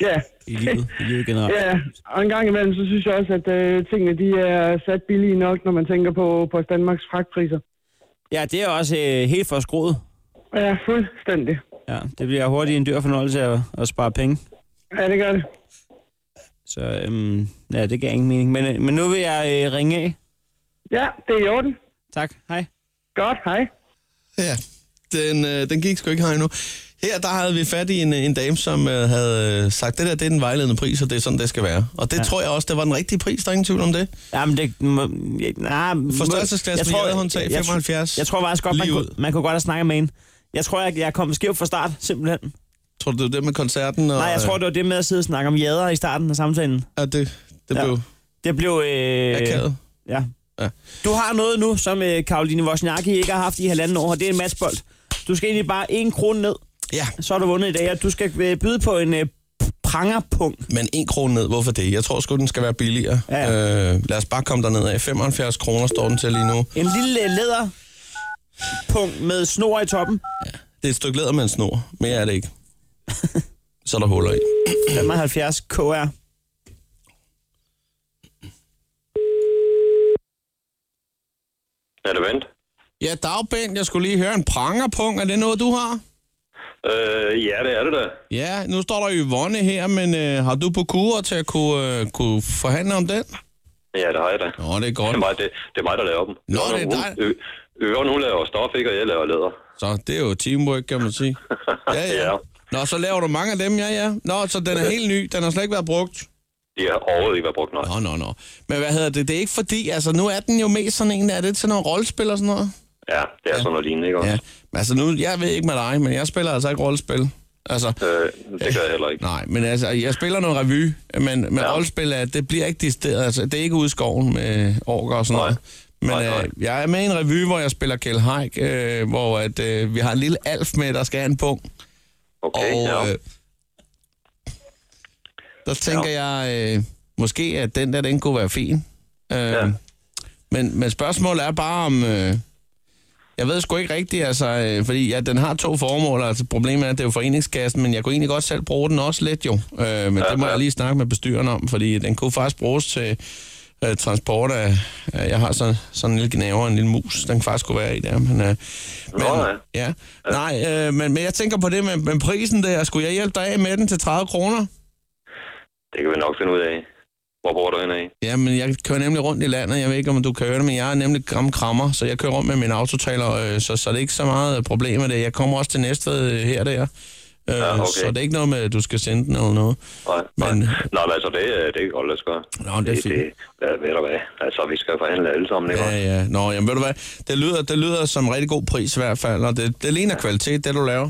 ja,
i livet, i livet generelt.
ja. Og en gang imellem, så synes jeg også, at øh, tingene de er sat billige nok, når man tænker på, på Danmarks fragtpriser.
Ja, det er også øh, helt for skruet.
Ja, fuldstændig.
Ja, det bliver hurtigt en dyr fornøjelse at, at spare penge.
Ja, det gør det.
Så øhm, ja, det gav ingen mening. Men, øh, men nu vil jeg øh, ringe af.
Ja, det er i orden.
Tak, hej.
Godt, hej.
Ja, den, øh, den gik sgu ikke her endnu. Her der havde vi fat i en, øh, en dame, som øh, havde øh, sagt, det der det er den vejledende pris, og det er sådan, det skal være. Og det ja. tror jeg også, det var den rigtige pris, der er ingen tvivl om det.
Jamen, det... Må, ja, nej, må-
Forstørrelsesglas med jadehåndtag,
jeg- jeg-
75.
Jeg, tror faktisk godt, man
Lige
kunne,
ud.
man kunne godt have snakket med en. Jeg tror, jeg, jeg kom skævt fra start, simpelthen.
Tror du, det var det med koncerten? Og,
Nej, jeg tror, det var det med at sidde og snakke om jader i starten af samtalen.
Ja, det, det
Ja.
ja. blev
Det blev... Øh,
akavet.
ja.
Ja.
Du har noget nu, som øh, Karoline Wozniacki ikke har haft i halvanden år, og det er en matchbold. Du skal egentlig bare en krone ned,
Ja,
så er du vundet i dag, og du skal øh, byde på en øh, prangerpunkt.
men en krone ned, hvorfor det? Jeg tror sgu, den skal være billigere.
Ja,
Øh, lad os bare komme derned af. 75 kroner står den til lige nu.
En lille øh, læderpunkt med snor i toppen.
Det er et stykke læder med en snor. Mere er det ikke. Så er der huller i.
75 KR.
Er det vent?
Ja, Dagbent, jeg skulle lige høre en prangerpung. Er det noget, du har?
Øh, ja, det er det da.
Ja, nu står der Yvonne her, men øh, har du på kurer til at kunne, øh, kunne forhandle om den?
Ja, det har jeg da. Det
Nå, det er godt.
er mig, det, det er mig der laver dem.
Nå, det er
hun,
dig.
Ø- Øren, hun laver stof, ikke? Og jeg laver læder.
Så det er jo teamwork, kan man sige. Ja, ja.
Ja.
Nå, så laver du mange af dem, ja, ja. Nå, så den er helt ny. Den har slet ikke været brugt.
De har overhovedet ikke været brugt, nej.
Nå, nå, nå. Men hvad hedder det? Det er ikke fordi, altså nu er den jo mest sådan en, er det til noget rollespil og sådan noget?
Ja, det er sådan noget lignende, ikke?
Ja. Men altså nu, jeg ved ikke med dig, men jeg spiller altså ikke rollespil. Altså,
Øh, det gør jeg heller ikke.
Nej, men altså, jeg spiller noget revy, men, men ja.
Ja.
rollespil, er, det bliver ikke distilleret, altså, det er ikke ude i skoven med orker og sådan
Nej.
noget. Men
Nej, nej.
øh, jeg er med i en revy, hvor jeg spiller Kjell Haik, øh, hvor at, øh, vi har en lille alf med, der skal have en punkt.
Okay,
og
ja.
øh, der tænker jeg, øh, måske at den der, den kunne være fin. Øh, ja.
Ja.
men, men spørgsmålet er bare om... Øh, jeg ved sgu ikke rigtigt, altså, øh, fordi ja, den har to formål. Altså, problemet er, at det er jo foreningskassen, men jeg kunne egentlig godt selv bruge den også lidt jo. Øh, men ja,
Ja,
det må
ja.
jeg lige snakke med bestyren om, fordi den kunne faktisk bruges til øh, transport af... Øh, jeg har sådan, sådan en lille gnaver, en lille mus, den faktisk kunne være i der. Men, øh, men,
ja.
ja. Nej, øh, men, men jeg tænker på det med, med prisen der. Skulle jeg hjælpe dig af med den til 30 kroner?
Det kan vi nok finde ud af. Hvor bor du henne af?
Jamen, jeg kører nemlig rundt i landet. Jeg ved ikke, om du kører det, men jeg er nemlig gram krammer, så jeg kører rundt med min autotaler, øh, så, så det er ikke så meget øh, problem med det. Jeg kommer også til Næstved øh, her og der. Øh,
Ja, okay.
Så det er ikke noget med, at du skal sende den eller noget.
Nej, nej.
Men-
nej, men altså, det, øh, det kan godt lade sig gøre.
Nå, det er fint.
Det, ja, ved du hvad? Altså, vi skal forhandle alle sammen, ikke?
Ja, ja. Nå, jamen ved du hvad, det lyder, det lyder som en rigtig god pris i hvert fald, og det, det ligner kvalitet, det du laver.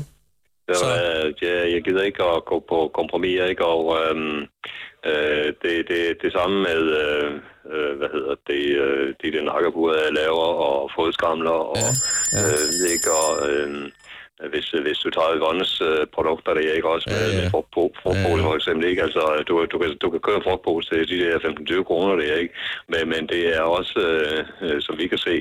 Det
Så-
var, jeg, jeg gider ikke at gå på kompromis, ikke? Og øhm, øh, det, det, det samme med, øh, øh, hvad hedder det, øh, de der nakkebuer, jeg laver, og fodskramler, og, ja, ja. Øh, ikke? Og, øh, hvis, hvis du tager Yvonnes øh, produkter, det er ikke også med,
Ja,
ja,
ja.
ja. med frugtpo- frugtpose
Ja, ja.
for eksempel, ikke? Altså, du, du, kan, du kan købe en frugtpose til de der 15-20 kroner, det er ikke? Men, men det er også, øh, øh, som vi kan se,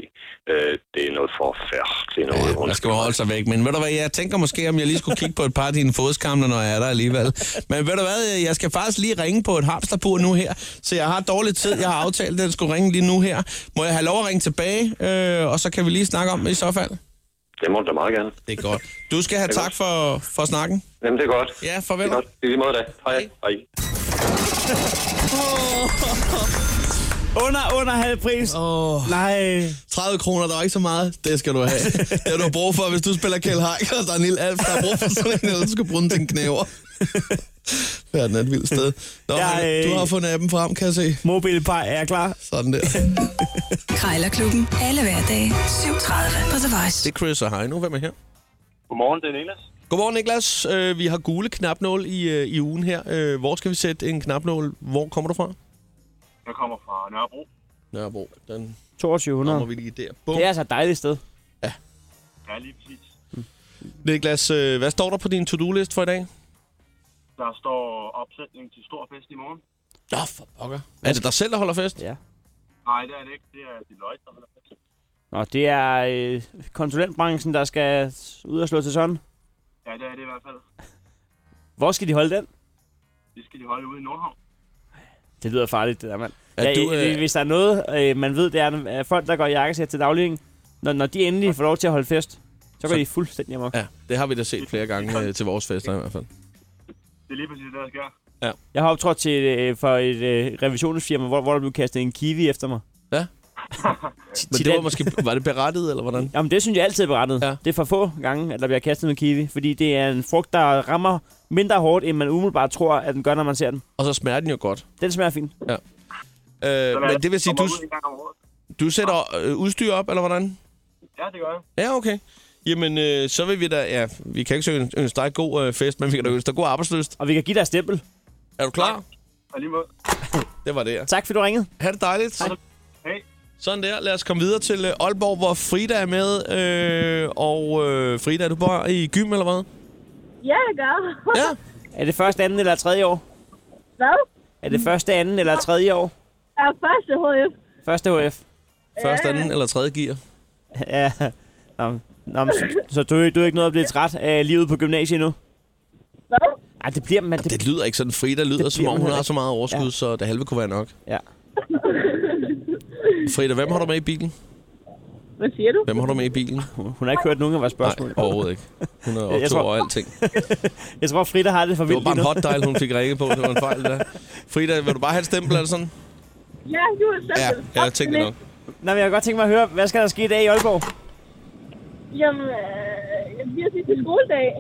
øh, det er noget forfærdeligt noget.
Ja, Øh, man skal jo holde sig væk, men ved du hvad, jeg tænker måske, om jeg lige skulle kigge på et par af dine fodskamler, når jeg er der alligevel. Men ved du hvad, jeg skal faktisk lige ringe på et hamsterbur nu her, så jeg har dårlig tid. Jeg har aftalt, at den skulle ringe lige nu her. Må jeg have lov at ringe tilbage, øh, og så kan vi lige snakke om det i så fald?
Det må du da meget gerne.
Det er godt. Du skal have tak for, for snakken.
Jamen, det er godt.
Ja,
Det
farvel.
er godt. I lige måde da. Hej. Hej.
Under, under halv pris.
Åh,
Nej.
30 kroner, der er ikke så meget. Det skal du have. Det har du brug for, hvis du spiller Kjell Heick, og der er Niel Alf, der har brug for sådan en, eller du skal bruge den til en knæver. Verden er et vildt sted. Nå,
Jeg,
Hanne, du
øh,
har fundet appen frem, kan jeg se.
Mobilpej, er jeg klar?
Sådan der.
Krejlerklubben. Alle hverdage 7.30 på The
Det
Voice.
er Chris og Heino. Hvem er her?
Godmorgen, det er Niklas.
Godmorgen, Niklas. Øh, vi har gule knapnål i, øh, i ugen her. Øh, hvor skal vi sætte en knapnål? Hvor kommer du fra?
Jeg kommer fra Nørrebro.
Nørrebro. Den
2200.
kommer vi lige der. Bum.
Det er altså et dejligt sted.
Ja, lige præcis.
Niklas, øh, hvad står der på din to-do-list for i dag?
Der står opsætning til stor fest i morgen.
Nå, for pokker. Er det dig selv, der holder fest?
Ja.
Nej, det er det ikke. Det er Deloitte, der holder fest.
Nå, det er øh, konsulentbranchen, der skal ud og slå til sådan.
Ja, det er det i hvert fald.
Hvor skal de holde den?
Det skal de holde ude i Nordhavn.
Det lyder farligt, det der, mand.
Er
Ja,
du,
du,
øh,
øh... Hvis der er noget, øh, man ved, det er, at folk, der går i jakkesæt til dagligdagen, når, når de endelig får lov til at holde fest, så går de fuldstændig amok.
Ja, det har vi da set flere gange øh, til vores fester i hvert fald.
Det er lige præcis det, der sker.
Jeg har optrådt til, øh, for et øh, revisionsfirma, hvor, hvor der blev kastet en kiwi efter mig.
Ja. Men det var måske... Var det berettiget, eller hvordan?
Jamen, det synes jeg altid er berettet.
Ja.
Ja. Det er for få gange, at der bliver kastet med kiwi, fordi det er en frugt, der rammer mindre hårdt, end man umiddelbart tror, at den gør, når man ser den.
Og så smager den jo godt.
Den smager fint.
Øh, men det vil sige, du,
Kommer ud en gang om året.
du sætter øh, udstyr op, eller hvordan?
Ja, det gør jeg.
Ja, okay. Jamen, øh, så vil vi da... Ja, vi kan ikke ønske, ønske dig god øh, fest, men vi kan da ønske dig god arbejdsløst.
Og vi kan give dig et stempel.
Er du klar?
Og lige måde.
Det var det, ja.
Tak, fordi du ringede.
Ha' det dejligt.
Hej.
Sådan der. Lad os komme videre til øh, Aalborg, hvor Frida er med. Øh, og øh, Frida, er du bare i gym, eller hvad?
Ja, jeg gør.
Ja.
Er det første, anden eller tredje år?
Hvad?
Er det første, anden eller tredje år?
Er første HF.
Første HF.
Første, anden eller tredje gear.
Ja. Nå, men- nå, men så, så du, du er ikke noget at blive træt af livet på gymnasiet nu?
Hvad?
Ej, det bliver man... Det,
Det lyder ikke sådan. Frida lyder,
Det
som
bliver
om
man
hun har
heller
så meget overskud, ja.
Ja.
så det halve kunne være nok.
ja.
Frida, hvem har du med i bilen?
Hvad siger du?
Hvem har du med i bilen?
Hun har ikke hørt nogen af vores spørgsmål.
Nej, overhovedet ikke. Hun er
Jeg
optog
tror-
over alting.
Jeg tror, Frida har det for
Det var
vildt
bare
lige
en
nu.
hot dial, hun fik rækket på. Det var en fejl, der. Frida, vil du bare have et stempel, eller sådan?
Ja, du er selv.
Ja, jeg tænkte det nok.
Nå, men jeg kan godt tænke mig at høre, hvad skal der ske i dag i Aalborg?
Jamen, øh, vi har sidste skoledag.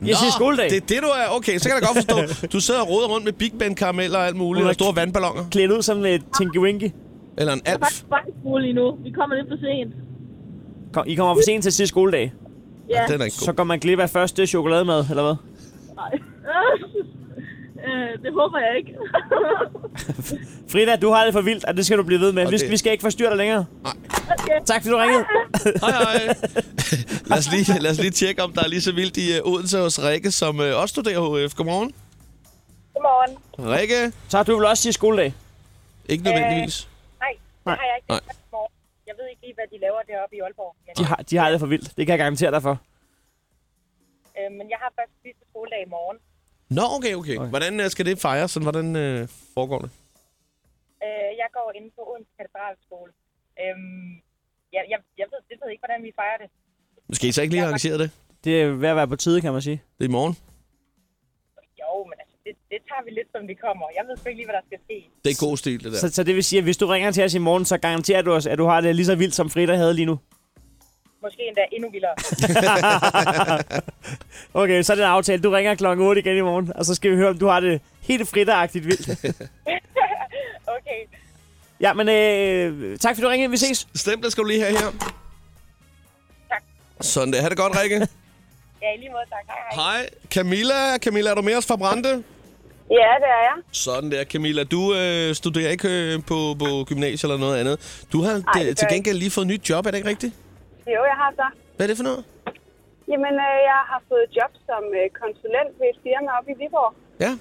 Jeg siger
Nå,
skoledag.
Det er det, du er. Okay, så kan jeg godt forstå. Du sidder og roder rundt med Big Band karameller og alt muligt,
Hun
og
er
store vandballoner.
Klædt ud som et Tinky Winky.
Eller en
Jeg er
alf.
faktisk bare i skole lige nu. Vi kommer lidt for sent.
Kom, I kommer for sent til sidste skoledag.
Ja.
Den er ikke
Så
god.
går man glip af første chokolademad, eller hvad?
Nej. øh, det håber jeg ikke.
Frida, du har det for vildt, og det skal du blive ved med. Vi,
det-
vi skal ikke forstyrre dig længere.
okay.
Tak, fordi du ringede.
Hej, hej. lad, os lige, lad os lige tjekke, om der er lige så vildt i uh, Odense hos Rikke, som uh, også studerer HF. Godmorgen.
Godmorgen.
Rikke.
Så har du vil også sige skoledag.
Ikke nødvendigvis.
Nej,
Nej.
det har jeg ikke.
Nej.
Jeg ved ikke lige, hvad de laver deroppe i Aalborg. Men,
Ah.
De har, de har det for vildt. Det kan jeg garantere dig for.
øh, men jeg har først sidste skoledag i morgen.
Nå, okay, okay. Hvordan øh, skal det fejres? Sådan, hvordan øh, foregår det?
Øh, jeg går inde på Odense Katedralskole. Øhm, jeg, jeg, jeg, ved, jeg ved ikke, hvordan vi fejrer det.
Skal I så ikke lige arrangere det?
Det er ved at være på tide, kan man sige.
Det er i morgen.
Jo, men altså, det, det tager vi lidt, som det kommer. Jeg ved sgu ikke lige, hvad der skal ske.
Det er god stil, det der.
Så, så det vil sige, at hvis du ringer til os i morgen, så garanterer du os, at du har det lige så vildt, som Frida havde lige nu.
Måske endda endnu vildere.
Okay, så er det en aftale. Du ringer klokken 8 igen i morgen, og så skal vi høre, om du har det helt Frida-agtigt vildt.
okay.
ja, men øh, tak fordi du ringede. Vi ses.
Stemplet skal du lige have her.
Tak.
Sådan der. Ha' det godt, Rikke.
Ja, i lige måde, tak. Hej, hej.
Hej. Camilla. Camilla, er du med os fra Brande?
Ja, det er jeg.
Sådan der, Camilla. Du øh, studerer ikke øh, på, på gymnasiet eller noget andet. Du har
gør
Ej,
jeg
til gengæld lige fået nyt job, er det ikke rigtigt?
Jo, jeg har så.
Hvad er det for noget?
Jamen, øh, jeg har fået job som øh, konsulent ved et firma oppe i Viborg.
Ja.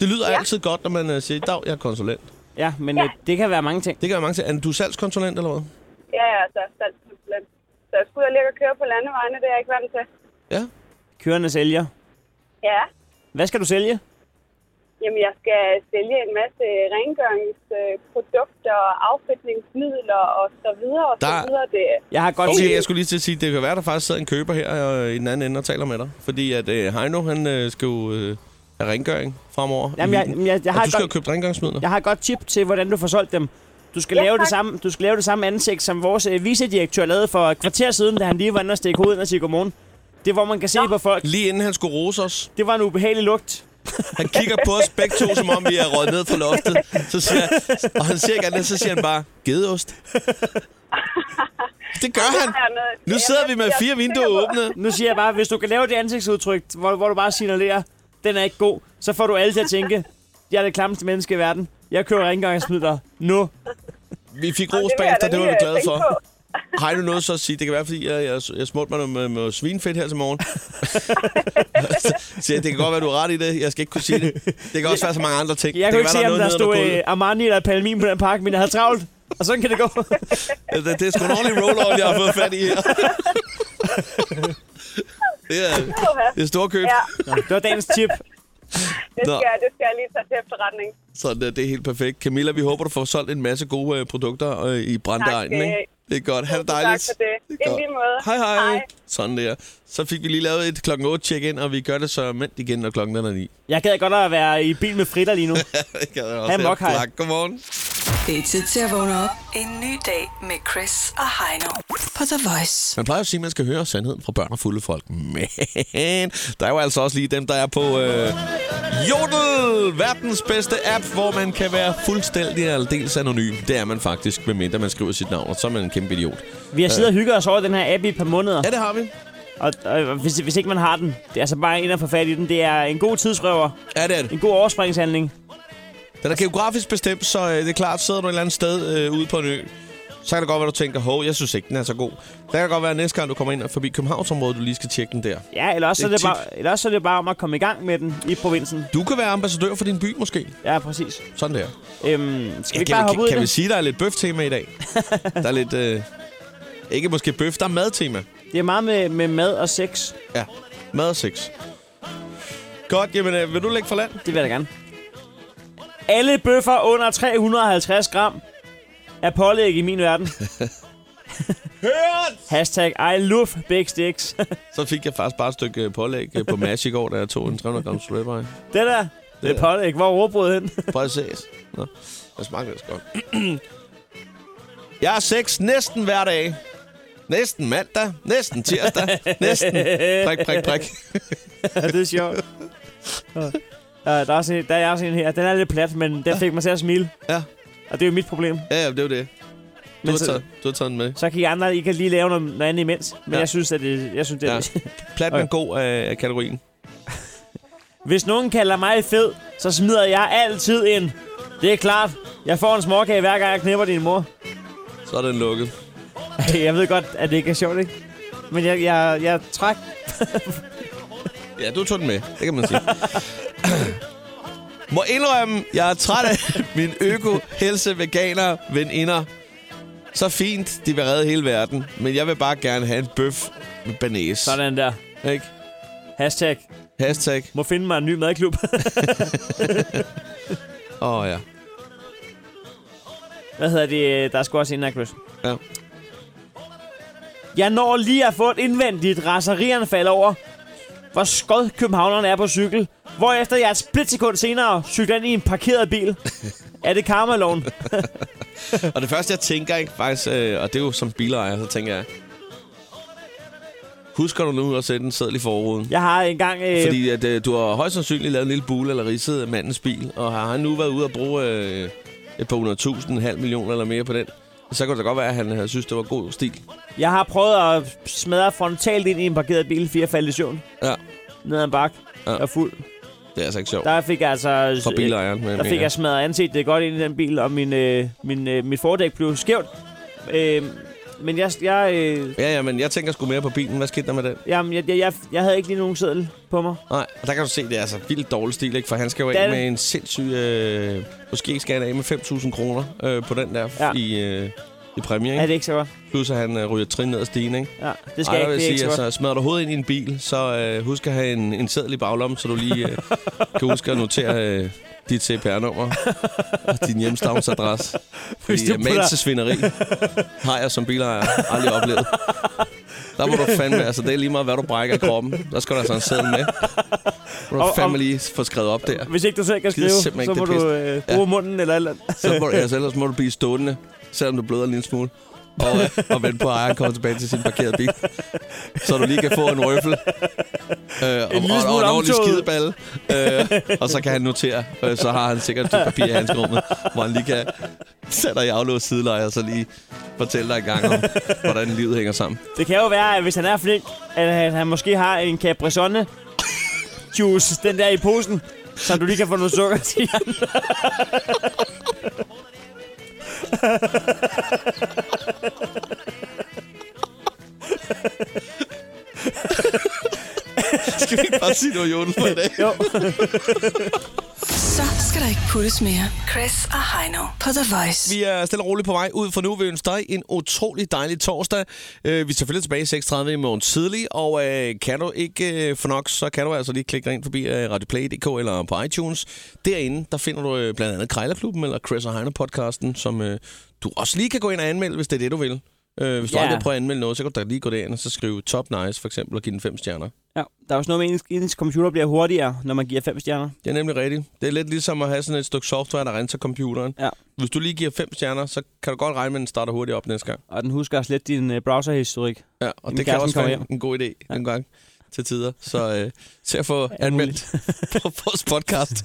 Det lyder ja. altid godt, når man øh, siger, i dag jeg er konsulent.
Ja, men øh, det kan være mange ting.
Det gør mange til. Er du salgskonsulent eller hvad?
Ja, jeg er så salgskonsulent. Så jeg skulle ud og ligge og køre på landevejene, det er jeg ikke vant til.
Ja.
Kørende sælger.
Ja,
Hvad skal du sælge?
jamen jeg skal sælge en masse rengøringsprodukter, affætningsmidler og så videre og så
Der-
videre. Det,
Jeg har godt
Okay,
set...
jeg skulle lige til at sige, det kan være, der faktisk sidder en køber her øh, i den anden ende og taler med dig. Fordi at øh, Heino, han øh, skal jo øh, have rengøring fremover. i
Jamen, jeg-
weekenden.
jamen, jeg- jeg
Og
har
du skal jo
godt-
købe rengøringsmidler.
Jeg har et godt tip til, hvordan du får solgt dem. Du skal,
Ja,
lave det
tak.
samme, du skal lave det samme ansigt, som vores øh, vicedirektør lavede for et kvarter siden, da han lige var inde og stikke hovedet ind og sige godmorgen. Det er, hvor man kan se på folk.
Lige inden han skulle rose os,
Det var en ubehagelig lugt.
han kigger på os begge to, som om vi er røget ned fra loftet. Så siger, og han siger ikke andet, så siger han bare, gedeost. Det gør han. Nu sidder vi med fire vinduer åbne.
Nu siger jeg bare, hvis du kan lave det ansigtsudtryk, hvor, hvor du bare signalerer, den er ikke god, så får du alle til at tænke, jeg er det klammeste menneske i verden. Jeg kører rengøringsmidler nu.
Vi fik ros bagefter, det var
øh,
vi glade for. Har I nu noget så at sige? Det kan være, fordi jeg, jeg, jeg smurte mig noget med, med svinfedt her til morgen. så jeg, det kan godt være, du har ret i det. Jeg skal ikke kunne sige det. Det kan også være så mange andre ting.
Jeg
det
kunne ikke
kan
se,
være,
om der
er noget
stod
nede under
øh, Armani eller Palmin på den pakke, men jeg havde travlt. Og sådan kan det gå. øh,
gulvet. Det, det er sgu en ordentlig roll jeg har fået fat i her. det er, det er stor køb.
Ja,
Det var dagens tip.
det
Nå.
skal, jeg, det skal jeg lige tage til efterretning.
Så det, det er helt perfekt. Camilla, vi håber, du får solgt en masse gode øh, produkter øh, i brandegnen.
Tak, øh,
Ikke? Det er godt. Ha' det
tusind tak
dejligt.
for det.
er
I
godt.
lige måde.
Hej, hej hej.
Hej.
Sådan der. Så fik vi lige lavet et klokken 8 check-in, og vi gør det så mænd igen, når klokken den er 9.
Jeg gad godt at være i bil med fritter lige nu.
det kan jeg
Ha'
også.
en mokhaj.
Tak. Godmorgen.
Det er tid til at vågne op. En ny dag med Chris og Heino på The Voice.
Man plejer jo at sige, at man skal høre sandheden fra børn og fulde folk. Men der er jo altså også lige dem, der er på øh, Jodel, verdens bedste app, hvor man kan være fuldstændig og aldeles anonym. Det er man faktisk, medmindre man skriver sit navn, og så er man en kæmpe idiot.
Vi har siddet og hygget os over den her app i et par måneder.
Ja, det har vi.
Og, og hvis, hvis ikke man har den, det er altså bare ind og få fat i den. Det er en god tidsrøver,
Ja, det er det.
en god overspringshandling.
Den er geografisk bestemt, så øh, det er klart, sidder du et eller andet sted øh, ude på en ø, så kan det godt være, du tænker, hov, jeg synes ikke, den er så god. Der kan det godt være, at næste gang, du kommer ind og forbi Københavnsområdet, du lige skal tjekke den der.
Ja, eller også, så er
Det er
det bare, eller også så er det bare om at komme i gang med den i provinsen.
Du kan være ambassadør for din by, måske.
Ja, præcis.
Sådan der.
Øhm, skal vi
Kan,
ikke bare
kan,
hoppe ud i
kan vi
det?
sige, der er lidt bøf-tema i dag? der er lidt... Øh, ikke måske bøf, der er mad-tema.
Det er meget med, med mad og sex.
Ja, mad og sex. Godt, jamen øh, vil du lægge for land?
Det vil jeg da gerne. Alle bøffer under 350 gram er pålæg i min verden.
Hørt!
Hashtag I love big sticks.
Så fik jeg faktisk bare et stykke øh, pålæg øh, på Mads i går, da jeg tog en 300 grams ribeye.
det der, det er pålæg. Hvor er råbrødet hen?
Præcis. Nå, jeg smagte det godt. Jeg har sex næsten hver dag. Næsten mandag, næsten tirsdag, næsten prik, prik, prik.
Ja, det er sjovt. Ja, der, er også en, der er også en her. Den er lidt plat, men den fik mig til at smile.
Ja.
Og det er jo mit problem.
Ja, ja, det var det. Du
Men
har,
så-
taget, du har taget den med.
Så kan I andre, I kan lige lave noget, noget andet imens. Men
Ja.
ja. jeg synes, at det, jeg synes, det er...
Ja.
Ja.
Plat, men god øh, af af kategorien.
Hvis nogen kalder mig fed, så smider jeg altid en. Det er klart. Jeg får en småkage, hver gang jeg knipper din mor.
Så er den lukket.
Jeg ved godt, at det ikke er sjovt, ikke? Men jeg, jeg, jeg træk...
Ja, du tog den med. Det kan man sige. Må indrømme, jeg er træt af min øko helse veganer veninder. Så fint, de vil redde hele verden. Men jeg vil bare gerne have en bøf med banæs.
Sådan der.
Ikke?
Hashtag.
Hashtag.
Må finde mig en ny madklub.
Åh, oh, ja.
Hvad hedder det? Der er sgu også en af Chris.
Ja.
Jeg når lige at få et indvendigt raserianfald over, hvor skød københavnerne er på cykel. Hvorefter jeg et splitsekund senere cykler ind i en parkeret bil. er det karmaloven?
Og det første, jeg tænker, ikke, faktisk, øh, og det er jo som bilejer, så tænker jeg, husker du nu at sætte en seddel i forruden?
Jeg har engang... Øh,
Fordi at, øh, du har højst sandsynligt lavet en lille bule eller ridset af mandens bil, øh, og har han nu været ude og bruge øh, et par hundredtusind, en halv million eller mere på den, så kan det da godt være, at han havde synes, det var god stil.
Jeg har prøvet at smadre frontalt ind i en parkeret bil, fire faldt i søvn.
Ja.
Ned ad en bak.
Ja.
Ja. Og fuld.
Det er altså ikke sjovt.
Der fik jeg altså...
For bilejeren, men
Der fik jeg smadret ansigtet godt ind i den bil, og min, øh, min, øh, mit fordæk blev skævt. Øh, men jeg, jeg, øh,
Ja, ja, men jeg tænker sgu mere på bilen. Hvad skete der med den?
jamen, jeg, jeg, jeg, jeg havde ikke lige nogen seddel på mig.
Nej, og der kan du se, det er altså vildt dårlig stil, ikke? For han skal jo af
Den-
med en sindssyg... Øh, måske skal han af med 5.000 kroner øh, på den der
Ja.
ja. i, øh, i præmie,
Er
ikke?
det ikke så godt?
Plus at han øh, ryger trin ned ad stigen, ikke?
Ja, det skal
Ej,
jeg
der
ikke.
vil
Det er
jeg
ikke
sige,
så godt.
altså, smadrer du hovedet ind i en bil, så øh, husk at have en, en seddel i baglommen, så du lige øh, kan huske at notere øh, dit CPR-nummer og din hjemstavnsadresse. Fordi
du
øh,
putter-
magen til svineri har jeg som bilejer aldrig oplevet. Der må du fandme, altså det er lige meget, hvad du brækker i kroppen. Der skal du altså have en seddel med.
Royal
Og-
Family får skrevet op der.
Hvis ikke du selv kan
Gider
skrive,
simpelthen
så
ikke
må
det
du øh, bruge
Ja.
munden eller et eller andet.
Så må du, altså, ellers må du blive stående, selvom du bløder en lille smule. Og, øh, og vente på, at ejeren kommer tilbage til sin parkerede bil. Så du lige kan få en røffel. Øh, og,
En lille
og, og
smule
en ordentlig
omtoget.
skideballe. Øh, og så kan han notere. Øh, så har han sikkert et stykke papir i handskerummet, hvor han lige kan sætte dig i aflåst sideleje, og så lige fortælle dig en gang om, hvordan livet hænger sammen.
Det kan jo være, at hvis han er flink, at han, han måske har en Capri-Sonne juice, den der i posen, så du lige kan få noget sukker til.
Skal vi ikke bare sige, det var jorden for i dag?
Jo.
Så skal der ikke puttes mere. Chris og Heino på The Voice.
Vi er stille og roligt på vej ud, for nu vil vi ønske dig en utrolig dejlig torsdag. Øh, Vi er selvfølgelig tilbage i 6.30 i morgen tidlig, og øh, kan du ikke øh, få nok, så kan du altså lige klikke dig ind forbi øh, radioplay.dk eller på iTunes. Derinde, der finder du øh, blandt andet Krejlerklubben eller Chris og Heiner podcasten, som øh, du også lige kan gå ind og anmelde, hvis det er det, du vil. Øh, Hvis du
Ja.
aldrig har prøvet at anmelde noget, så kan du da lige gå derind og så skrive top nice for eksempel og give den fem stjerner.
Ja, der er også noget med, at ens, ens computer bliver hurtigere, når man giver fem stjerner.
Det er nemlig rigtigt. Det er lidt ligesom at have sådan et stykke software, der renser computeren.
Ja.
Hvis du lige giver fem stjerner, så kan du godt regne med, at den starter hurtigt op næste gang.
Og den husker også lidt din øh, browserhistorik.
Ja, og
Inden
det kan
kæresten
også
kommer
være
hjem.
en god idé ja. en gang til tider. Så øh, til at få anmeldt på vores podcast.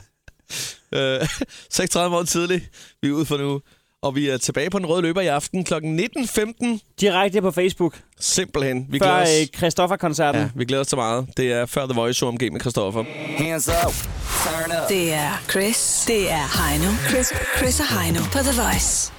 øh, 6.30 morgen tidlig. Vi er ude for nu. Og vi er tilbage på den røde løber i aften kl. 19.15.
Direkte på Facebook,
Simpelthen. Vi
før
glæder os.
øh, Christoffer-koncerten.
Ja, vi glæder os så meget. Det er før The Voice OMG med Christoffer.
Hands up. Turn up.
Det er Chris. Det er Heino. Chris, Chris og Heino på The Voice.